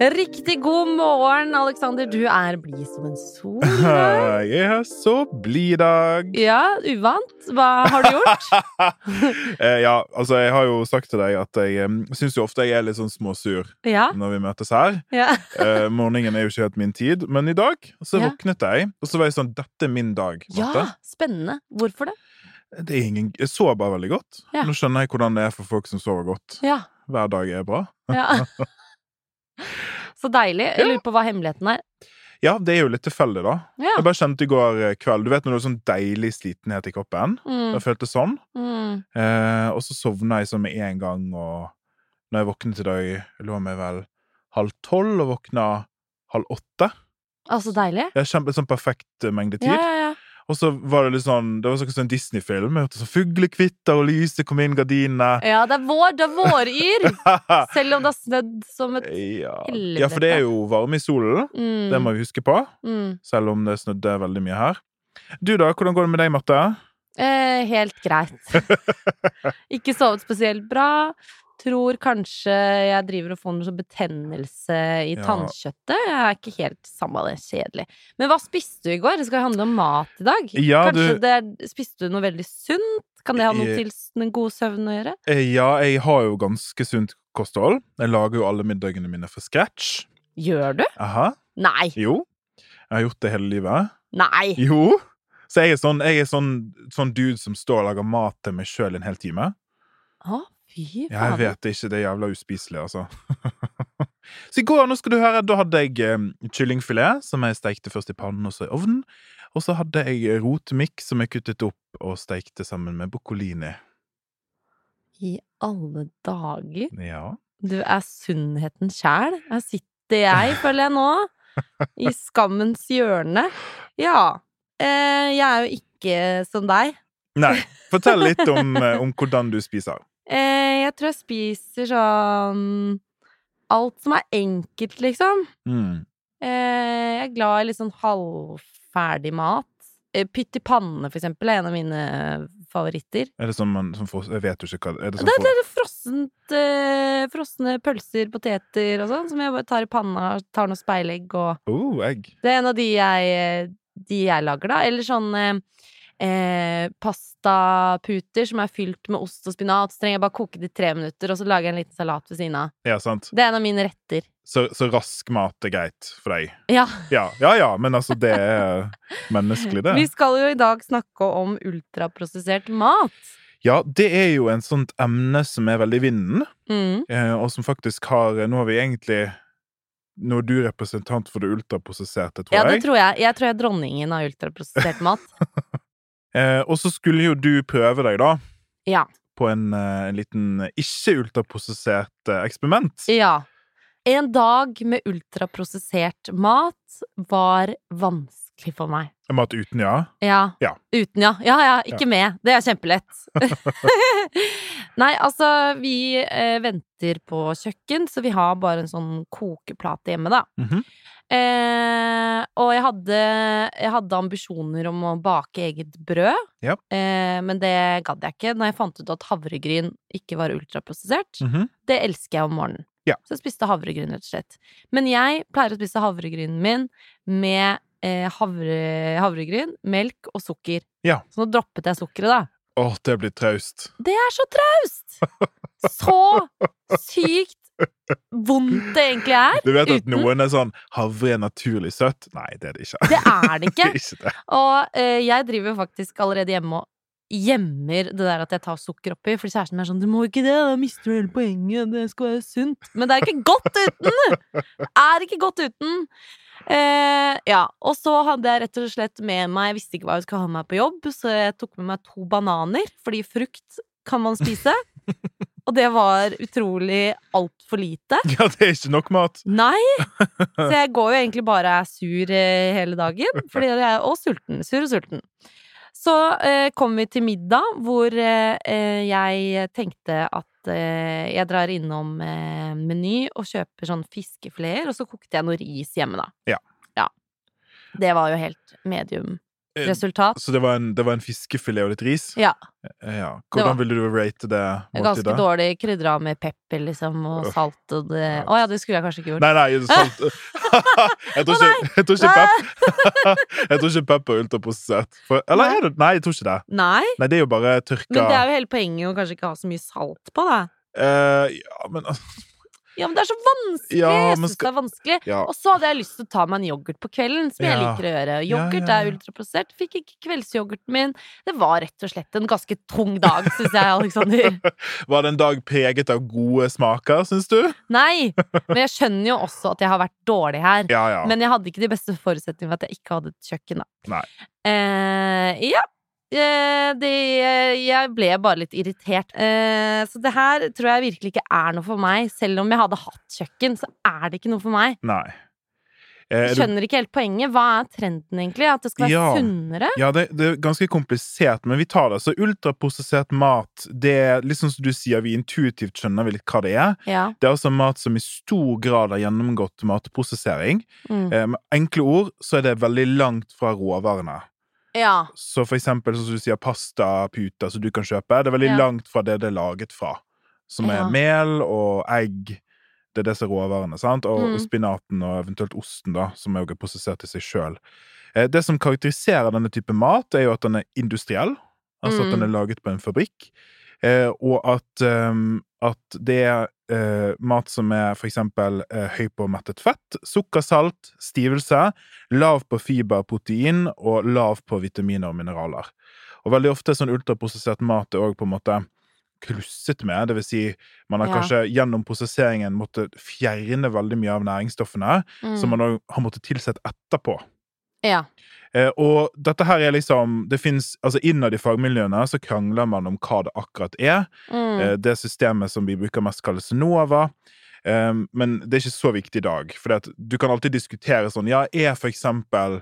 Riktig god morgen, Aleksander. Du er blid som en sol. Jeg er så blid i dag. Ja, uvant. Hva har du gjort? Eh, ja, altså, jeg har jo sagt til deg at jeg um, syns jo ofte jeg er litt sånn småsur Ja. når vi møtes her. ja. Eh, morgenen er jo ikke helt min tid, men i dag så Ja. våknet jeg, og så var jeg sånn Dette er min dag, ja, Marte. spennende. Hvorfor det? Det er ingen, jeg sover bare veldig godt. Ja. Nå skjønner jeg hvordan det er for folk som sover godt. Ja. Hver dag er bra. ja. Så deilig. Jeg lurer på hva hemmeligheten er. Ja, det er jo litt tilfeldig, da. Ja. Jeg bare kjente i går eh, kveld Du vet når du har sånn deilig slitenhet i kroppen? Mm, Jeg følte sånn. mm. Eh, og så sovna jeg sånn med en gang, og når jeg våknet i dag, jeg lå meg vel halv tolv og våkna halv åtte. Altså deilig. Jeg har kjempe, sånn perfekt eh, mengde tid. Ja, ja, ja. Og så var det litt sånn Det var sånn som en Disney-film. Jeg hørte sånn Fuglekvitter og lyset kom inn gardinene. ja, det er vår. Det er våryr. Selv om det har snødd som et ja. Helvete. ja, for det er jo varme i solen. mm, Det må vi huske på, mm. selv om det snødde veldig mye her. Du, da? Hvordan går det med deg, Marte? Eh, helt greit. Ikke sovet spesielt bra. Tror kanskje jeg driver og får noe sånn betennelse i Ja. tannkjøttet. Jeg er ikke helt samme det, kjedelig. Men hva spiste du i går? Det skal jo handle om mat i dag. Ja, kanskje du- det er, spiste du noe veldig sunt? Kan det ha noe Eh, til s- den gode søvnen å gjøre? Eh, Ja, jeg har jo ganske sunt kosthold. Jeg lager jo alle middagene mine fra scratch. Gjør du? Aha. Nei! Jo. Jeg har gjort det hele livet. Nei! Jo. Så jeg er sånn, jeg er sånn, sånn dude som står og lager mat til meg sjøl en hel time. Å, fy Ja, jeg faen. vet det er ikke. Det er jævla uspiselig, altså. så i går, nå skal du høre, da hadde jeg eh, kyllingfilet, som jeg stekte først i pannen og så i ovnen. Og så hadde jeg rotmikk, som jeg kuttet opp og stekte sammen med boccolini. I alle dager. Ja. Du er sunnheten sjæl. Her sitter jeg, føler jeg nå, i skammens hjørne. Ja. Eh, jeg er jo ikke som deg. Nei, fortell litt om, eh, om hvordan du spiser. Eh, jeg tror jeg spiser sånn Alt som er enkelt, liksom. Mm. Eh, jeg er glad i litt sånn halvferdig mat. Eh, Pytt i panne, for eksempel, er en av mine favoritter. Er det sånn man som får, Jeg vet jo ikke hva er det Det sånn er, det for, er frossent, eh, frosne pølser, poteter og sånn, som jeg bare tar i panna, tar noe speilegg og Oh, egg. Det er en av de jeg, eh, de jeg lager, da. Eller sånn eh, eh, pastaputer som er fylt med ost og spinat. Så trenger jeg bare koke det i tre minutter, og så lager jeg en liten salat ved siden av. Ja, sant. Det er en av mine retter. Så, så rask mat er greit for deg. Ja. Ja, ja, ja men altså, det er menneskelig, det. Vi skal jo i dag snakke om ultraprosessert mat. Ja, det er jo en sånt emne som er veldig i vinden, Mm. eh, og som faktisk har eh, Nå har vi egentlig Nå er du representant for det ultraprosesserte, tror Ja, det jeg. tror jeg. Jeg tror jeg er dronningen av ultraprosessert mat. Eh, og så skulle jo du prøve deg, da. Ja. På en, eh, en liten eh, ikke-ultraprosessert eh, eksperiment. Ja. En dag med ultraprosessert mat var vanskelig for meg. Mat uten, ja. Ja. Ja. Uten, ja. Ja, ja, ikke med. Det er kjempelett. Nei, altså, vi eh, venter på kjøkken, så vi har bare en sånn kokeplate hjemme, da. Mhm. Eh, og jeg hadde, jeg hadde ambisjoner om å bake eget brød, Ja. eh, men det gadd jeg ikke når jeg fant ut at havregryn ikke var ultraprosessert. Mhm. Det elsker jeg om morgenen. Ja. Så jeg spiste havregryn, rett og slett. Men jeg pleier å spise havregrynen min med eh, havre, havregryn, melk og sukker. Ja. Så nå droppet jeg sukkeret, da. Åh, det blir traust. Det er så traust! Så sykt vondt det egentlig er. Du vet at Uten? noen er sånn 'Havre er naturlig søtt'. Nei, det er det ikke. Det er det Det ikke. er ikke det. Og eh, jeg driver jo faktisk allerede hjemme og gjemmer det der at jeg tar sukker oppi, fordi kjæresten min er sånn 'du må ikke det, da mister du hele poenget, det skal være sunt'. Men det er ikke godt uten! Er ikke godt uten! Eh, ja, og så hadde jeg rett og slett med meg Jeg visste ikke hva jeg skulle ha med meg på jobb, så jeg tok med meg to bananer, fordi frukt kan man spise. Og det var utrolig altfor lite. Ja, det er ikke nok mat. Nei! Så jeg går jo egentlig bare og er sur eh, hele dagen. Fordi jeg er også sulten. Sur og sulten. Så eh, kom vi til middag, hvor eh, eh, jeg tenkte at eh, jeg drar innom eh, Meny og kjøper sånn fiskefileter, og så kokte jeg noe ris hjemme, da. Ja. ja. Det var jo helt medium Eh, Resultat Så det var, en, det var en fiskefilet og litt ris? Ja. Eh, ja. Det var- Hvordan ville du rate det ganske måltidet? dårlig krydra med pepper liksom, og Uff. salt og det Å ja, det skulle jeg kanskje ikke gjort. Nei, nei, sant. jeg, tror ikke, jeg, tror ikke pep, jeg tror ikke pepper er ultraprosessert. For, eller Nei. er det Nei, jeg tror ikke det. Nei, Nei, det er jo bare tørka men det er jo hele poenget å kanskje ikke ha så mye salt på, da. Eh, ja, men altså, Ja, men det er så vanskelig! Ja, jeg men synes det skal- er vanskelig. ja. Og så hadde jeg lyst til å ta meg en yoghurt på kvelden, som jeg Ja. liker å gjøre. Ja, Yoghurt ja, er ja. ultraprosessert. Fikk ikke kveldsyoghurten min. Det var rett og slett en ganske tung dag, syns jeg, Aleksander. Var det en dag preget av gode smaker, syns du? Nei! Men jeg skjønner jo også at jeg har vært dårlig her. Ja, ja. Men jeg hadde ikke de beste forutsetningene for at jeg ikke hadde et kjøkken, da. Nei. Eh, ja. Eh, det, jeg ble bare litt irritert. Eh, så det her tror jeg virkelig ikke er noe for meg. Selv om jeg hadde hatt kjøkken, så er det ikke noe for meg. Nei. Eh, Jeg er du, skjønner ikke helt poenget. Hva er trenden, egentlig? At det skal være Ja. sunnere? ja, det, det er ganske komplisert, men vi tar det. Så ultraprosessert mat, det er litt sånn som du sier, vi intuitivt skjønner vel litt hva det er. Ja. Det er altså mat som i stor grad har gjennomgått matprosessering. Mm. Eh, med enkle ord så er det veldig langt fra råvarene. ja. Så for eksempel sånn som du sier pastaputer som du kan kjøpe, det er veldig Ja. langt fra det det er laget fra. Som er Ja. mel og egg. Det er disse råvarene. sant? Og, Mm. og spinaten og eventuelt osten, da, som også er prosessert i seg sjøl. Eh, det som karakteriserer denne type mat, er jo at den er industriell. Altså at Mm. den er laget på en fabrikk. Eh, og at, ehm, at det er eh, mat som er for eksempel eh, høy på mettet fett, sukkersalt, stivelse, lav på fiber, protein og lav på vitaminer og mineraler. Og veldig ofte er sånn ultraprosessert mat er òg på en måte klusset med, det vil si man har Ja. kanskje gjennom prosesseringen måttet fjerne veldig mye av næringsstoffene, Mm. som man òg har måttet tilsette etterpå. ja. Eh, og dette her er liksom det finnes, altså Innad i fagmiljøene så krangler man om hva det akkurat er. Mm. Eh, det systemet som vi bruker mest, kalles NOVA. Eh, men det er ikke så viktig i dag. For at du kan alltid diskutere sånn Ja, er for eksempel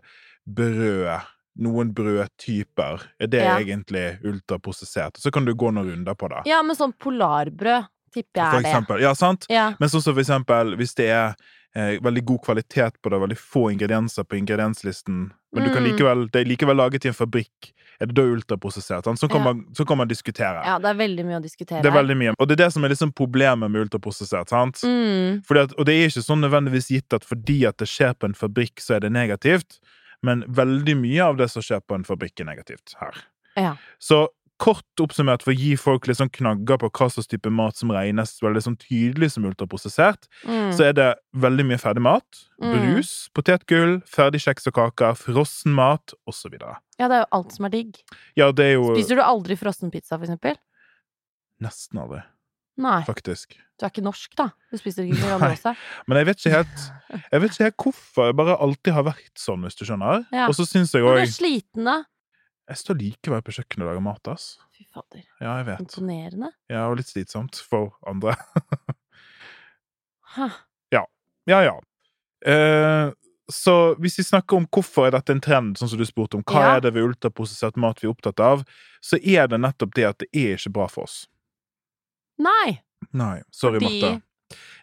brød noen brødtyper Er det Ja. egentlig ultraprosessert? Så kan du gå noen runder på det. ja, men sånn polarbrød tipper jeg for er det. eksempel. Ja, sant? Ja. Men sånn som for eksempel hvis det er eh, veldig god kvalitet på det, veldig få ingredienser på ingredienslisten, men du kan Mm. likevel, det er likevel laget i en fabrikk, er det da ultraprosessert? sant? Så Ja. kan, man, så kan man diskutere. ja, det er veldig mye å diskutere. Det er veldig mye. Og det er det som er liksom problemet med ultraprosessert. sant? mm. Fordi at, og det er ikke sånn nødvendigvis gitt at fordi at det skjer på en fabrikk, så er det negativt. Men veldig mye av det som skjer på en fabrikk, er negativt her. Ja. Så kort oppsummert, for å gi folk litt sånn knagger på hva slags type mat som regnes veldig sånn tydelig som ultraprosessert, Mm. så er det veldig mye ferdig mat, Mm. brus, potetgull, ferdig kjeks og kaker, frossen mat, osv. Ja, det er jo alt som er digg. Ja, det er jo Spiser du aldri frossenpizza, for eksempel? nesten aldri, Nei. faktisk. Du er ikke norsk, da. Du spiser ikke Nei. Grandiosa. Men jeg vet ikke helt, jeg vet ikke helt hvorfor jeg bare alltid har vært sånn, hvis du skjønner. Ja. Og så syns jeg Men Du er òg sliten, da. Jeg står likevel på kjøkkenet og lager mat, ass. Fy fader. Ja, jeg vet. Imponerende. Ja, og litt slitsomt for andre. Hæ. Ja, ja. Eh, så hvis vi snakker om hvorfor er dette en trend, sånn som du spurte om, hva Ja. er det ved ultraprosessert mat vi er opptatt av, så er det nettopp det at det er ikke bra for oss. Nei! Nei. Sorry, Fordi- Marte.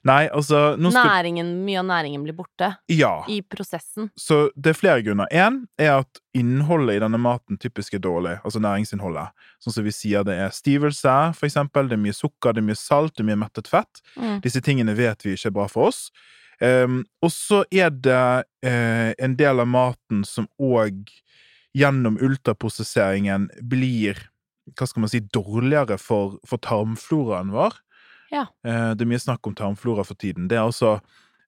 Nei, altså nå skal, Næringen, mye av næringen blir borte Ja. i prosessen. Så det er flere grunner. Én er at innholdet i denne maten typisk er dårlig. Altså næringsinnholdet. Sånn som vi sier det er stivelse, for eksempel. Det er mye sukker, det er mye salt, det er mye mettet fett. Mm. Disse tingene vet vi ikke er bra for oss. Ehm, og så er det eh, en del av maten som òg gjennom ultraprosesseringen blir hva skal man si, dårligere for, for tarmfloraen vår. Ja. Eh, det er mye snakk om tarmflora for tiden. Det er altså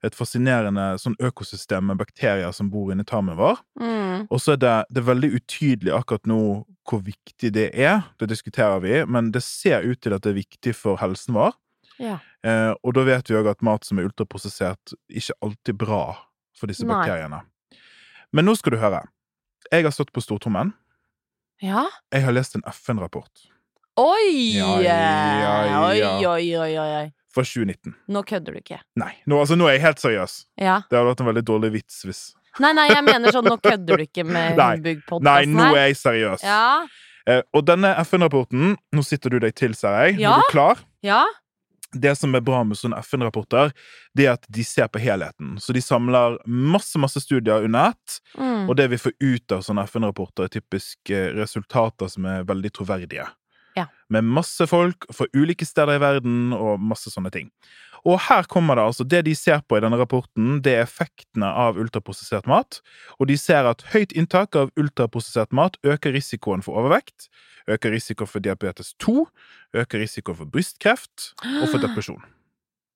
et fascinerende sånn økosystem med bakterier som bor inni tarmen vår. Mm. Og så er det, det er veldig utydelig akkurat nå hvor viktig det er. Det diskuterer vi, men det ser ut til at det er viktig for helsen vår. Ja. Eh, og da vet vi òg at mat som er ultraprosessert, ikke alltid er bra for disse Nei. bakteriene. Men nå skal du høre. Jeg har stått på stortrommen. ja. Jeg har lest en FN-rapport Oi! Ja, ja, Oi, ja. oi, oi, oi, oi. fra 2019. Nå kødder du ikke. Nei, nå, altså, nå er jeg helt seriøs. Ja. Det hadde vært en veldig dårlig vits hvis Nei, nei, jeg mener sånn, nå kødder du ikke med Nei. Nei, Humbug-podkasten nå er jeg seriøs. Ja. Eh, og denne FN-rapporten Nå sitter du deg til, ser jeg. Ja. Er du klar? Ja. det som er bra med sånne FN-rapporter, det er at de ser på helheten. Så de samler masse, masse studier under ett, Mm. og det vi får ut av sånne FN-rapporter, er typisk eh, resultater som er veldig troverdige. Ja. Med masse folk fra ulike steder i verden og masse sånne ting. Og her kommer det altså Det de ser på i denne rapporten, det er effektene av ultraprosessert mat. Og de ser at høyt inntak av ultraprosessert mat øker risikoen for overvekt, øker risikoen for diabetes 2, øker risikoen for brystkreft og for depresjon.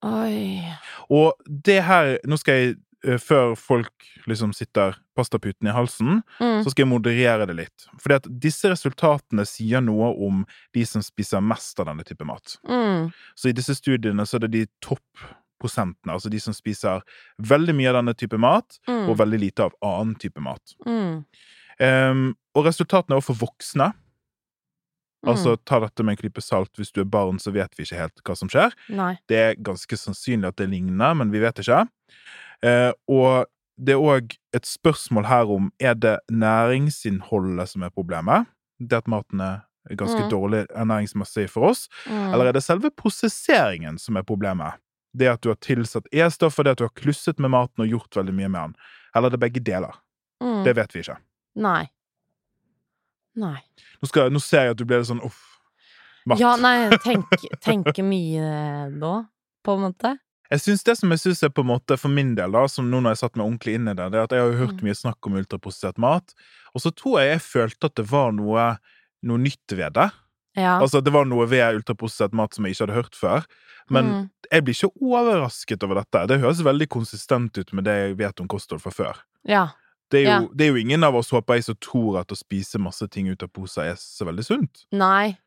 Oi. Og det her Nå skal jeg, eh, før folk liksom sitter pastaputen i halsen, Mm. så skal jeg moderere det litt. Fordi at disse resultatene sier noe om de som spiser mest av denne type mat. Mm. Så i disse studiene så er det de topprosentene, altså de som spiser veldig mye av denne type mat, og Mm. veldig lite av annen type mat. Mm. Ehm, og resultatene er også for voksne. Mm. Altså, ta dette med en klype salt. Hvis du er barn, så vet vi ikke helt hva som skjer. Nei. Det er ganske sannsynlig at det ligner, men vi vet ikke. Eh, og det er òg et spørsmål her om er det næringsinnholdet som er problemet? Det at maten er ganske Mm. dårlig ernæringsmessig for oss? Mm. Eller er det selve prosesseringen som er problemet? Det at du har tilsatt E-stoffer, det at du har klusset med maten og gjort veldig mye med den? Eller er det begge deler? mm. Det vet vi ikke. Nei. Nei. Nå, skal, nå ser jeg at du ble litt sånn uff. Matt. Ja, nei, tenk, tenker mye nå, på en måte. Jeg synes Det som jeg synes er på en måte for min del, da, som nå når jeg satt meg ordentlig inn i det, det er at jeg har jo hørt Mm. mye snakk om ultraprosessert mat, og så tror jeg jeg følte at det var noe, noe nytt ved det. Ja. Altså det var noe ved ultraprosessert mat som jeg ikke hadde hørt før. Men mm. jeg blir ikke overrasket over dette. Det høres veldig konsistent ut med det jeg vet om kosthold fra før. ja. Det er, jo, Ja. det er jo ingen av oss, håper jeg, som tror at å spise masse ting ut av poser er så veldig sunt. Nei.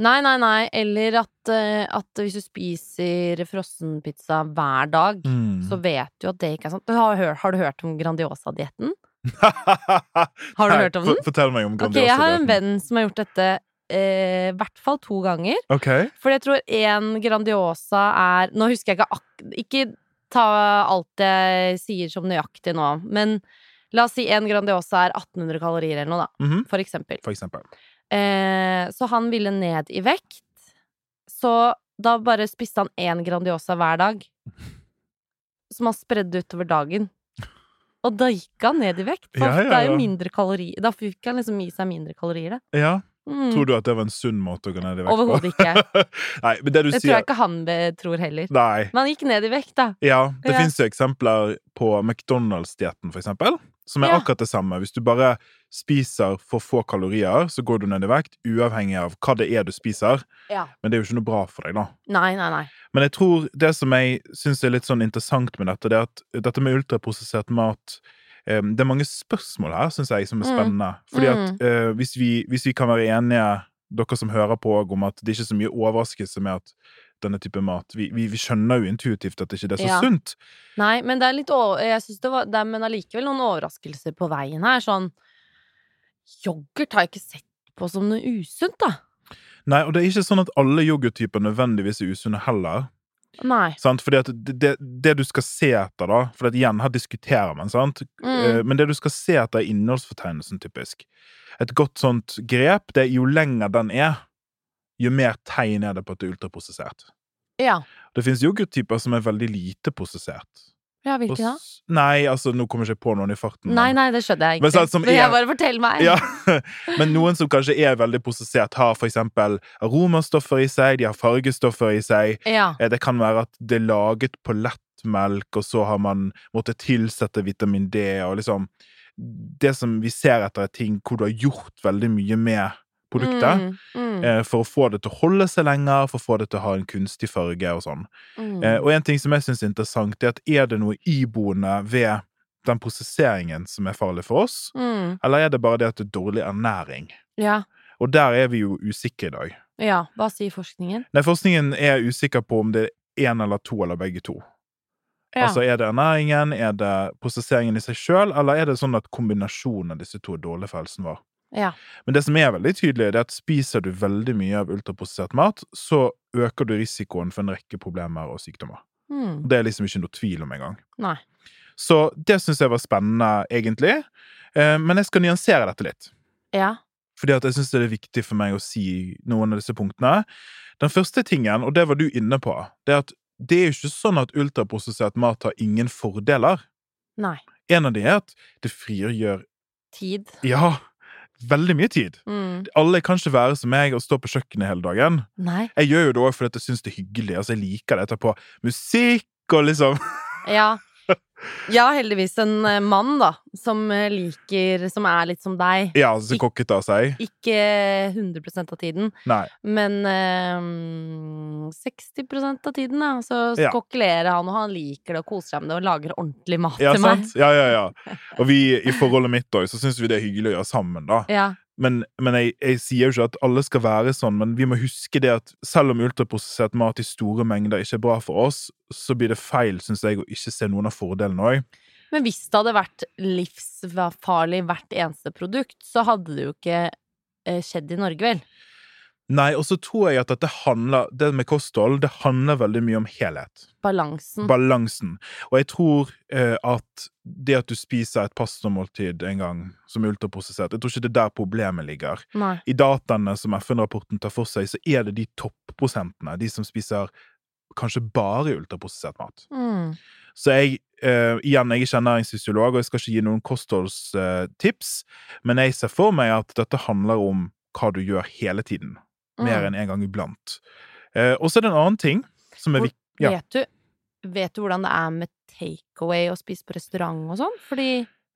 Nei, nei, nei. Eller at, eh, at hvis du spiser frossenpizza hver dag, Mm. så vet du at det ikke er sant. Du Har, hør- har du hørt om Grandiosa-dietten? Har du Nei, hørt om for- den? Fortell meg om Ok, jeg har en Grandiosa-dietten. venn som har gjort dette eh, i hvert fall to ganger. Ok. For jeg tror én Grandiosa er Nå husker jeg ikke ak... Ikke ta alt jeg sier som nøyaktig nå, men la oss si én Grandiosa er 1800 kalorier eller noe, da. Mhm, For eksempel. For eksempel. Eh, så han ville ned i vekt. Så da bare spiste han én Grandiosa hver dag. Som han spredde utover dagen. Og da gikk han ned i vekt. For Ja, ja, det er ja. jo mindre kalorier. Da fikk han liksom i seg mindre kalorier, da. Ja, Tror Mm. du at det var en sunn måte å gå ned i vekt Overhodet ikke. Nei, men det du Det tror sier jeg ikke han eh, tror heller. Nei. Men han gikk ned i vekt, da. Ja, det Ja. fins jo eksempler på McDonald's-dietten, for eksempel, som er Ja. akkurat det samme. Hvis du bare spiser for få kalorier, så går du ned i vekt, uavhengig av hva det er du spiser. Ja. Men det er jo ikke noe bra for deg, da. Nei, nei, nei. Men jeg tror det som jeg syns er litt sånn interessant med dette, det er at dette med ultraprosessert mat eh, Det er mange spørsmål her, syns jeg, som er Mm. spennende. Fordi at eh, hvis, vi, hvis vi kan være enige, dere som hører på, om at det ikke er så mye overraskelse med at denne type mat Vi, vi, vi skjønner jo intuitivt at det ikke er så Ja. sunt. Nei, men det er litt over... Jeg synes det var... Det er, men allikevel noen overraskelser på veien her. Sånn Yoghurt har jeg ikke sett på som noe usunt, da. Nei, og det er ikke sånn at alle yoghurttyper nødvendigvis er usunne heller. Nei. Sant? Fordi at det, det, det du skal se etter, da For at igjen, her diskuterer man, sant? Eh, Mm. Men det du skal se etter, er innholdsfortegnelsen, typisk. Et godt sånt grep, det er jo lenger den er, jo mer tegn er det på at det er ultraprosessert. Ja. Det fins yoghurttyper som er veldig lite prosessert. Ja, Og hvilke da? s- Nei, altså, nå kommer jeg ikke på noen i farten. Nei, men- nei, det skjønner jeg Men ikke. sånn som Men er- jeg bare fortell meg. Ja, Men noen som kanskje er veldig prosessert, har for eksempel aromastoffer i seg, de har fargestoffer i seg. Ja. Eh, Det kan være at det er laget på lettmelk, og så har man måttet tilsette vitamin D, og liksom Det som vi ser etter, er ting hvor du har gjort veldig mye med produktet. Mm, mm, eh, For å få det til å holde seg lenger, for å få det til å ha en kunstig farge og sånn. mm. Eh, Og en ting som jeg syns er interessant, er at er det noe iboende ved den prosesseringen som er farlig for oss, Mm. eller er det bare det at det er dårlig ernæring? Ja. Og der er vi jo usikre i dag. ja. Hva sier forskningen? Nei, forskningen er usikker på om det er én eller to eller begge to. Ja. Altså, Er det ernæringen, er det prosesseringen i seg sjøl, eller er det sånn at kombinasjonen av disse to er dårlig for helsen vår? ja. Men det som er veldig tydelig, det er at spiser du veldig mye av ultraprosessert mat, så øker du risikoen for en rekke problemer og sykdommer. Mm. Det er liksom ikke noe tvil om engang. Nei. Så det syns jeg var spennende, egentlig. Eh, Men jeg skal nyansere dette litt. Ja. Fordi at jeg syns det er viktig for meg å si noen av disse punktene. Den første tingen, og det var du inne på, det er at det er jo ikke sånn at ultraprosessert mat har ingen fordeler. Nei. En av de er at det frigjør Tid. ja, veldig mye tid. Mm. Alle kan ikke være som meg og stå på kjøkkenet hele dagen. Nei. Jeg gjør jo det òg fordi at jeg syns det er hyggelig. altså Jeg liker det. Jeg tar på musikk og liksom Ja. Jeg har heldigvis en eh, mann, da, som eh, liker Som er litt som deg. Ja, så kokket av seg. Ikke 100 av tiden, Nei. men eh, 60 av tiden, da. Så Ja. kokkelerer han, og han liker det og koser seg med det og lager ordentlig mat Ja, til meg. sant? Ja, ja, ja. Og vi i forholdet mitt òg, så syns vi det er hyggelig å gjøre sammen, da. Ja. Men, men jeg, jeg sier jo ikke at alle skal være sånn, men vi må huske det at selv om ultraprosessert mat i store mengder ikke er bra for oss, så blir det feil, syns jeg, å ikke se noen av fordelene òg. Men hvis det hadde vært livsfarlig hvert eneste produkt, så hadde det jo ikke eh, skjedd i Norge, vel? Nei, og så tror jeg at dette handler, det med kosthold det handler veldig mye om helhet. Balansen. Balansen. Og jeg tror eh, at det at du spiser et pastamåltid en gang som er ultraprosessert, jeg tror ikke det er der problemet ligger. Nei. I dataene som FN-rapporten tar for seg, så er det de topprosentene, de som spiser kanskje bare ultraprosessert mat. Mm. Så jeg, eh, igjen, jeg er ikke ernæringsfysiolog, og jeg skal ikke gi noen kostholdstips, men jeg ser for meg at dette handler om hva du gjør hele tiden, Mm. mer enn en gang iblant. Eh, og så er det en annen ting som er Hvor- viktig. ja. Vet, du, vet du hvordan det er med takeaway og spise på restaurant og sånn? Fordi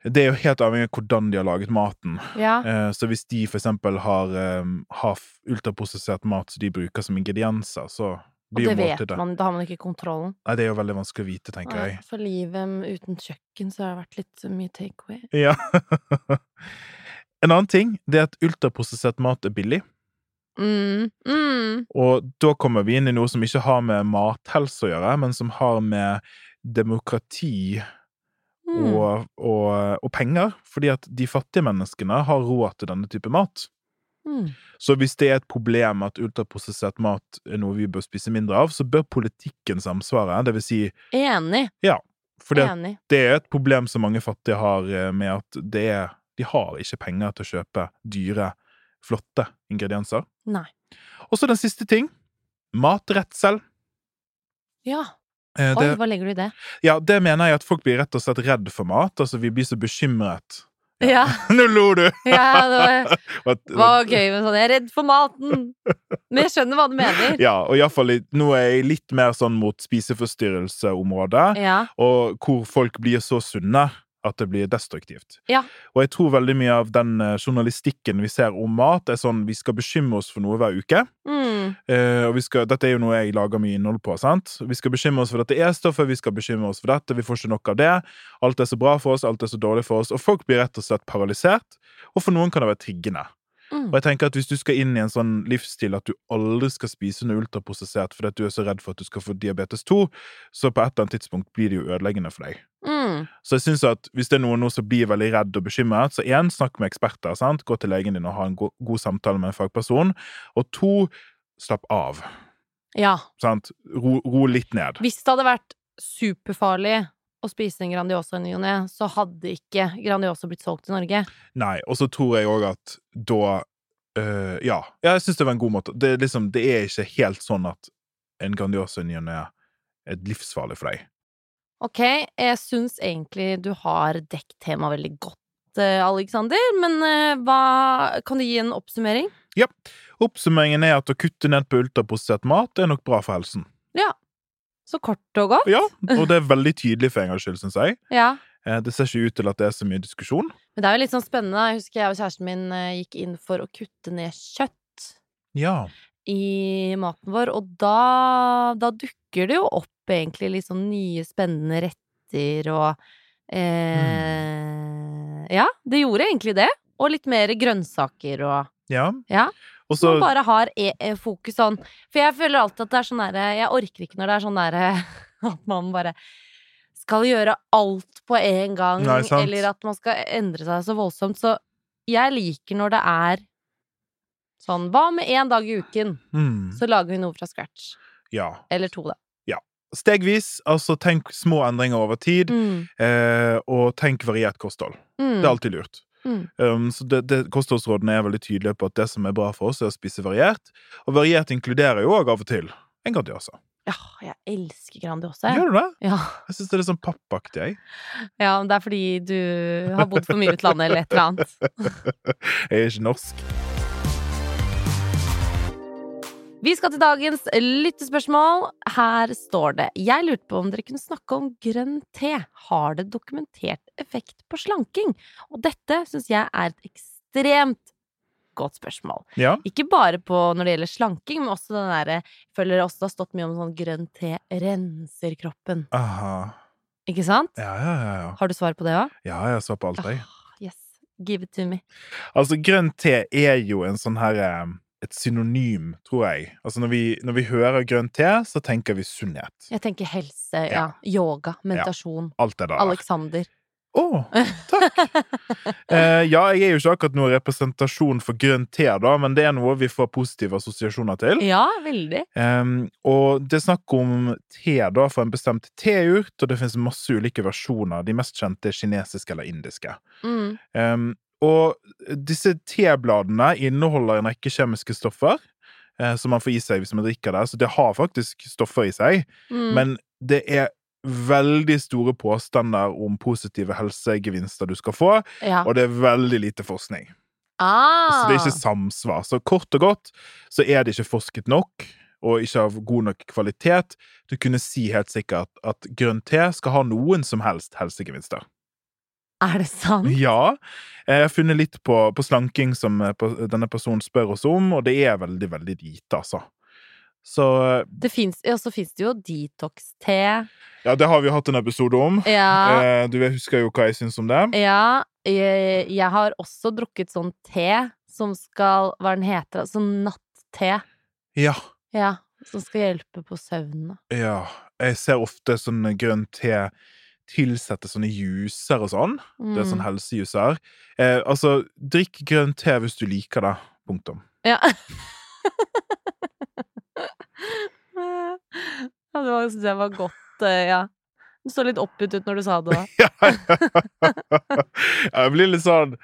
Det er jo helt avhengig av hvordan de har laget maten. Ja. Eh, Så hvis de for eksempel har, eh, har f- ultraprosessert mat som de bruker som ingredienser, så Og blir det jo vet måltidet man, da har man ikke kontrollen. Nei, det er jo veldig vanskelig å vite, tenker Nei, jeg. For livet um, uten kjøkken så har det vært litt uh, mye takeaway. Ja. en annen ting det er at ultraprosessert mat er billig. Mm. Mm. Og da kommer vi inn i noe som ikke har med mathelse å gjøre, men som har med demokrati Mm. og, og, og penger. Fordi at de fattige menneskene har råd til denne type mat. Mm. Så hvis det er et problem at ultraprosessert mat er noe vi bør spise mindre av, så bør politikken samsvare. Det vil si, Enig. for det, Enig. det er et problem som mange fattige har eh, med at det er, de har ikke penger til å kjøpe dyre, flotte ingredienser. Nei. Og så den siste ting. Matredsel. Ja. Eh, Oi, Det, hva legger du i det? ja, det mener jeg at folk blir rett og slett redd for mat. Altså, vi blir så bekymret. Ja, Nå lo du! ja det var At- Det var gøy med sånn 'jeg er redd for maten', men jeg skjønner hva du mener. Ja, og iallfall nå er jeg litt mer sånn mot spiseforstyrrelseområdet. Ja. og hvor folk blir så sunne at det blir destruktivt. Ja. Og jeg tror veldig mye av den eh, journalistikken vi ser om mat, er sånn vi skal bekymre oss for noe hver uke. Mm. Eh, og vi skal, dette er jo noe jeg lager mye innhold på. sant? Vi skal bekymre oss for dette E-stoffet, vi skal bekymre oss for dette, vi får ikke nok av det. Alt er så bra for oss, alt er så dårlig for oss. Og folk blir rett og slett paralysert. Og for noen kan det være triggende. Mm. Og jeg tenker at Hvis du skal inn i en sånn livsstil at du aldri skal spise noe ultraprosessert fordi at du er så redd for at du skal få diabetes 2, så på et eller annet tidspunkt blir det jo ødeleggende for deg. Mm. Så jeg synes at hvis det er noen nå som blir veldig redd og bekymret, så én, snakk med eksperter. sant? Gå til legen din og ha en go god samtale med en fagperson. Og to, slapp av. ja. sant? Ro, ro litt ned. Hvis det hadde vært superfarlig å spise en Grandiosa i ny og ne, så hadde ikke Grandiosa blitt solgt i Norge. Nei, og så tror jeg òg at da øh, ja. ja, jeg syns det var en god måte. Det er, liksom, det er ikke helt sånn at en Grandiosa i ny og ne er livsfarlig for deg. Ok, jeg syns egentlig du har dekket temaet veldig godt, eh, Alexander, men eh, hva Kan du gi en oppsummering? Oppsummeringen er at å kutte ned på ultraprosessert mat er nok bra for helsen. Så kort og godt. Ja, Og det er veldig tydelig for en gangs skyld, syns jeg. Ja. Eh, Det ser ikke ut til at det er så mye diskusjon. Men det er jo litt sånn spennende. Jeg husker jeg og kjæresten min eh, gikk inn for å kutte ned kjøtt. Ja. i maten vår, og da, da dukker det jo opp egentlig litt sånn nye spennende retter og Mm. eh, Ja, det gjorde egentlig det. Og litt mer grønnsaker og Ja. Ja. Og Så man så bare har e e fokus sånn. For jeg føler alltid at det er sånn derre Jeg orker ikke når det er sånn derre at man bare skal gjøre alt på en gang, Nei, sant. eller at man skal endre seg så voldsomt. Så jeg liker når det er sånn Hva med én dag i uken? mm, så lager vi noe fra scratch. Ja. Eller to, da. Stegvis. Altså tenk små endringer over tid, Mm. eh, og tenk variert kosthold. Mm. Det er alltid lurt. Mm. Um, så det, det, kostholdsrådene er veldig tydelige på at det som er bra for oss, er å spise variert. Og variert inkluderer jo òg av og til en Grandiosa. Ja, jeg elsker Grandiosa. jeg. Gjør du det? Ja. Jeg syns det er litt sånn pappaktig, jeg. ja, men det er fordi du har bodd for mye i utlandet eller et eller annet. Jeg er ikke norsk. Vi skal til dagens lyttespørsmål. Her står det Jeg lurte på om dere kunne snakke om grønn te. Har det dokumentert effekt på slanking? Og dette syns jeg er et ekstremt godt spørsmål. Ja. Ikke bare på når det gjelder slanking, men også den derre jeg Føler det også har stått mye om sånn grønn te renser kroppen. Aha. Ikke sant? Ja, ja, ja. ja. Har du svar på det òg? ja jeg svarer på alt, jeg. Yes. Give it to me. Altså, grønn te er jo en sånn her eh, et synonym, tror jeg. Altså, når vi, når vi hører grønn te, så tenker vi sunnhet. Jeg tenker helse, ja. Ja. Yoga, meditasjon. Alt det der. Alexander. Å, takk! Eh, ja, jeg er jo ikke akkurat noen representasjon for grønn te, da, men det er noe vi får positive assosiasjoner til. Ja, veldig. Ehm, og det er snakk om te da, for en bestemt teurt, og det finnes masse ulike versjoner. De mest kjente er kinesiske eller indiske. Mm. Ehm, og disse tebladene inneholder en rekke kjemiske stoffer eh, som man får i seg hvis man drikker det, så det har faktisk stoffer i seg. Mm. Men det er veldig store påstander om positive helsegevinster du skal få, ja. og det er veldig lite forskning. Så Ah. det er ikke samsvar. Så kort og godt så er det ikke forsket nok, og ikke av god nok kvalitet, til å kunne si helt sikkert at grønn te skal ha noen som helst helsegevinster. Er det sant? Ja, Eh, jeg har funnet litt på, på slanking som eh, på- denne personen spør oss om, og det er veldig, veldig lite, altså. Så Det fins, ja, så fins det jo detox-te. Ja, det har vi jo hatt en episode om. Ja. Eh, Du husker jo hva jeg syns om det. ja. Jeg, jeg har også drukket sånn te som skal Hva den heter den? Sånn natt-te. Ja. Ja. Som skal hjelpe på søvnen. ja. Jeg ser ofte sånn grønn te tilsette sånne juicer og sånn. Mm. Det er sånn helsejus her. Eh, altså, drikk grønn te hvis du liker det. Punktum. Ja. ja, det var- synes jeg var godt, eh, ja. Du så litt oppgitt ut når du sa det òg. jeg blir litt sånn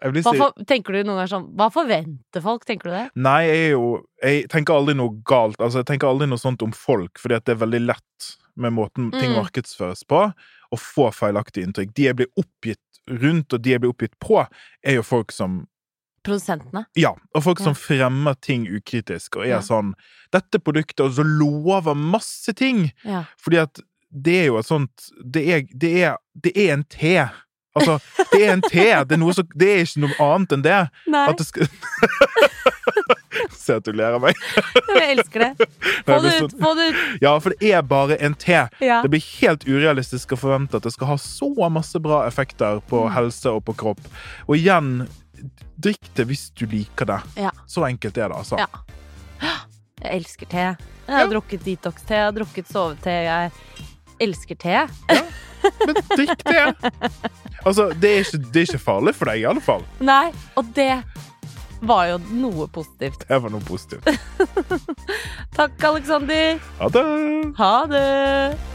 Jeg blir så Tenker du noen ganger sånn Hva forventer folk? Tenker du det? Nei, jeg er jo Jeg tenker aldri noe galt. Altså, jeg tenker aldri noe sånt om folk, fordi at det er veldig lett med måten ting Mm. markedsføres på, å få feilaktige inntrykk. De jeg blir oppgitt rundt, og de jeg blir oppgitt på, er jo folk som Produsentene? Ja, og folk Ja. som fremmer ting ukritisk, og Ja. er sånn 'Dette produktet altså lover masse ting', Ja. Fordi at det er jo et sånt Det er, det er, det er en te. Altså, det er en te. Det er, noe som, det er ikke noe annet enn det. Nei, At det skal Se at du ler av meg. jeg elsker det. Få det ut! Få det ut! Ja, for det er bare en te. Ja. Det blir helt urealistisk å forvente at det skal ha så masse bra effekter på Mm. helse og på kropp. Og igjen, drikk det hvis du liker det. Ja. Så enkelt er det, altså. Ja. Jeg elsker te. Jeg har drukket detox-te, jeg har drukket sovete. Jeg elsker te. Men drikk det! Altså, det er, ikke, det er ikke farlig for deg, i alle fall. Nei, og det var jo noe positivt. Det var noe positivt. Takk, Aleksander. Ha det! Ha det!